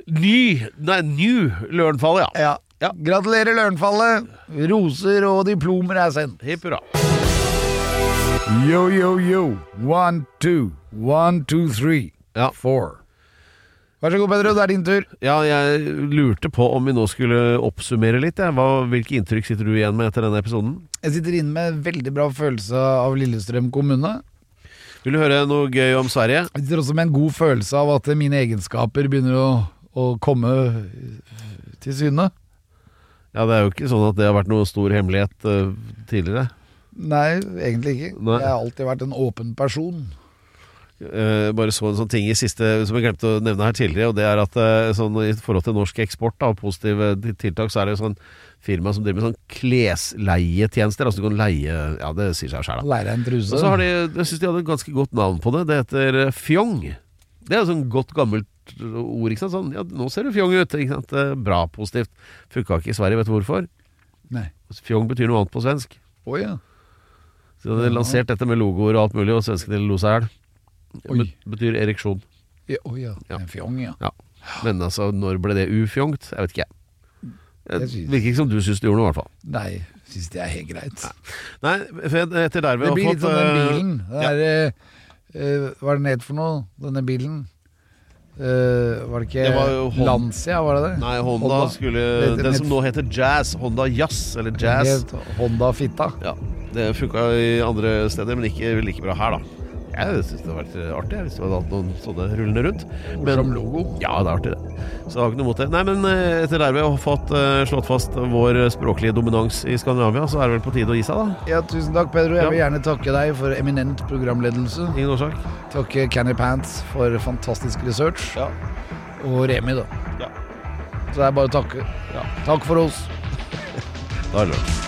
Speaker 2: Ny Nei, New Lørenfallet, ja.
Speaker 3: ja.
Speaker 2: Ja.
Speaker 3: Gratulerer Lørenfallet. Roser og diplomer er sendt.
Speaker 2: Hipp hurra.
Speaker 3: Yo, yo, yo. One, two. One, two, three.
Speaker 2: Ja.
Speaker 3: Four. Vær så god, Pedro. Det er din tur.
Speaker 2: Ja, jeg lurte på om vi nå skulle oppsummere litt. jeg. Hva, hvilke inntrykk sitter du igjen med etter denne episoden?
Speaker 3: Jeg sitter inne med en veldig bra følelse av Lillestrøm kommune.
Speaker 2: Vil du høre noe gøy om Sverige?
Speaker 3: Jeg sitter også med en god følelse av at mine egenskaper begynner å, å komme eh, til syne.
Speaker 2: Ja, Det er jo ikke sånn at det har vært noe stor hemmelighet eh, tidligere.
Speaker 3: Nei, egentlig ikke.
Speaker 2: Nei.
Speaker 3: Jeg har alltid vært en åpen person.
Speaker 2: Eh, bare så en sånn ting i siste som jeg glemte å nevne her tidligere, og det er at eh, sånn, i forhold til norsk eksport da, og positive t- tiltak, så er det jo sånn firma som driver med sånn klesleietjenester. Altså du kan leie Ja, det sier seg sjæl, da.
Speaker 3: Lære en
Speaker 2: Og så
Speaker 3: truse.
Speaker 2: har de Jeg syns de hadde et ganske godt navn på det. Det heter eh, fjong. Det er jo sånn godt gammelt ord, ikke sant. Sånn, ja, nå ser du fjong ut. Ikke sant? Eh, Bra, positivt. Funka ikke i Sverige, vet du hvorfor?
Speaker 3: Nei.
Speaker 2: Fjong betyr noe annet på svensk.
Speaker 3: Å ja.
Speaker 2: Så de hadde lansert dette med logoer og alt mulig, og svenskene lo seg i hjel.
Speaker 3: Oi.
Speaker 2: Bet- Betyr ereksjon.
Speaker 3: Ja, Å ja.
Speaker 2: Ja.
Speaker 3: En fjong, ja.
Speaker 2: Ja. Men altså, når ble det ufjongt? Jeg vet ikke.
Speaker 3: Jeg
Speaker 2: Det
Speaker 3: synes-
Speaker 2: virker ikke som du syns du gjorde noe, i hvert fall.
Speaker 3: Nei, syns det er helt greit.
Speaker 2: Nei, for etter derved
Speaker 3: Det
Speaker 2: har
Speaker 3: blir
Speaker 2: fått
Speaker 3: litt som den
Speaker 2: eh,
Speaker 3: bilen. Den
Speaker 2: ja.
Speaker 3: der, eh, hva er den het for noe, denne bilen? Eh, var det ikke
Speaker 2: Det var jo Hon-
Speaker 3: Lancia, var det det?
Speaker 2: Nei, Honda, skulle
Speaker 3: Det-
Speaker 2: Den som nå heter Jazz. Honda Jazz, eller Jazz.
Speaker 3: het Honda Fitta.
Speaker 2: Ja, Det funka i andre steder, men ikke like bra her, da. Jeg syns det hadde vært artig jeg, hvis vi hadde hatt noen sånne rullende rundt.
Speaker 3: Morsom logo.
Speaker 2: Ja, det er artig, det. Så jeg har ikke noe mot det. Nei, men eh, etter derved å ha fått eh, slått fast vår språklige dominans i Skandinavia, så er det vel på tide å gi seg, da.
Speaker 3: Ja, tusen takk, Pedro. Jeg vil
Speaker 2: Ja.
Speaker 3: gjerne takke deg for eminent programledelse.
Speaker 2: Ingen årsak.
Speaker 3: Takke Canny Pants for fantastisk research.
Speaker 2: Ja.
Speaker 3: Og Remi, da.
Speaker 2: Ja.
Speaker 3: Så det er bare å takke. Takk for oss.
Speaker 2: Da er det lunsj.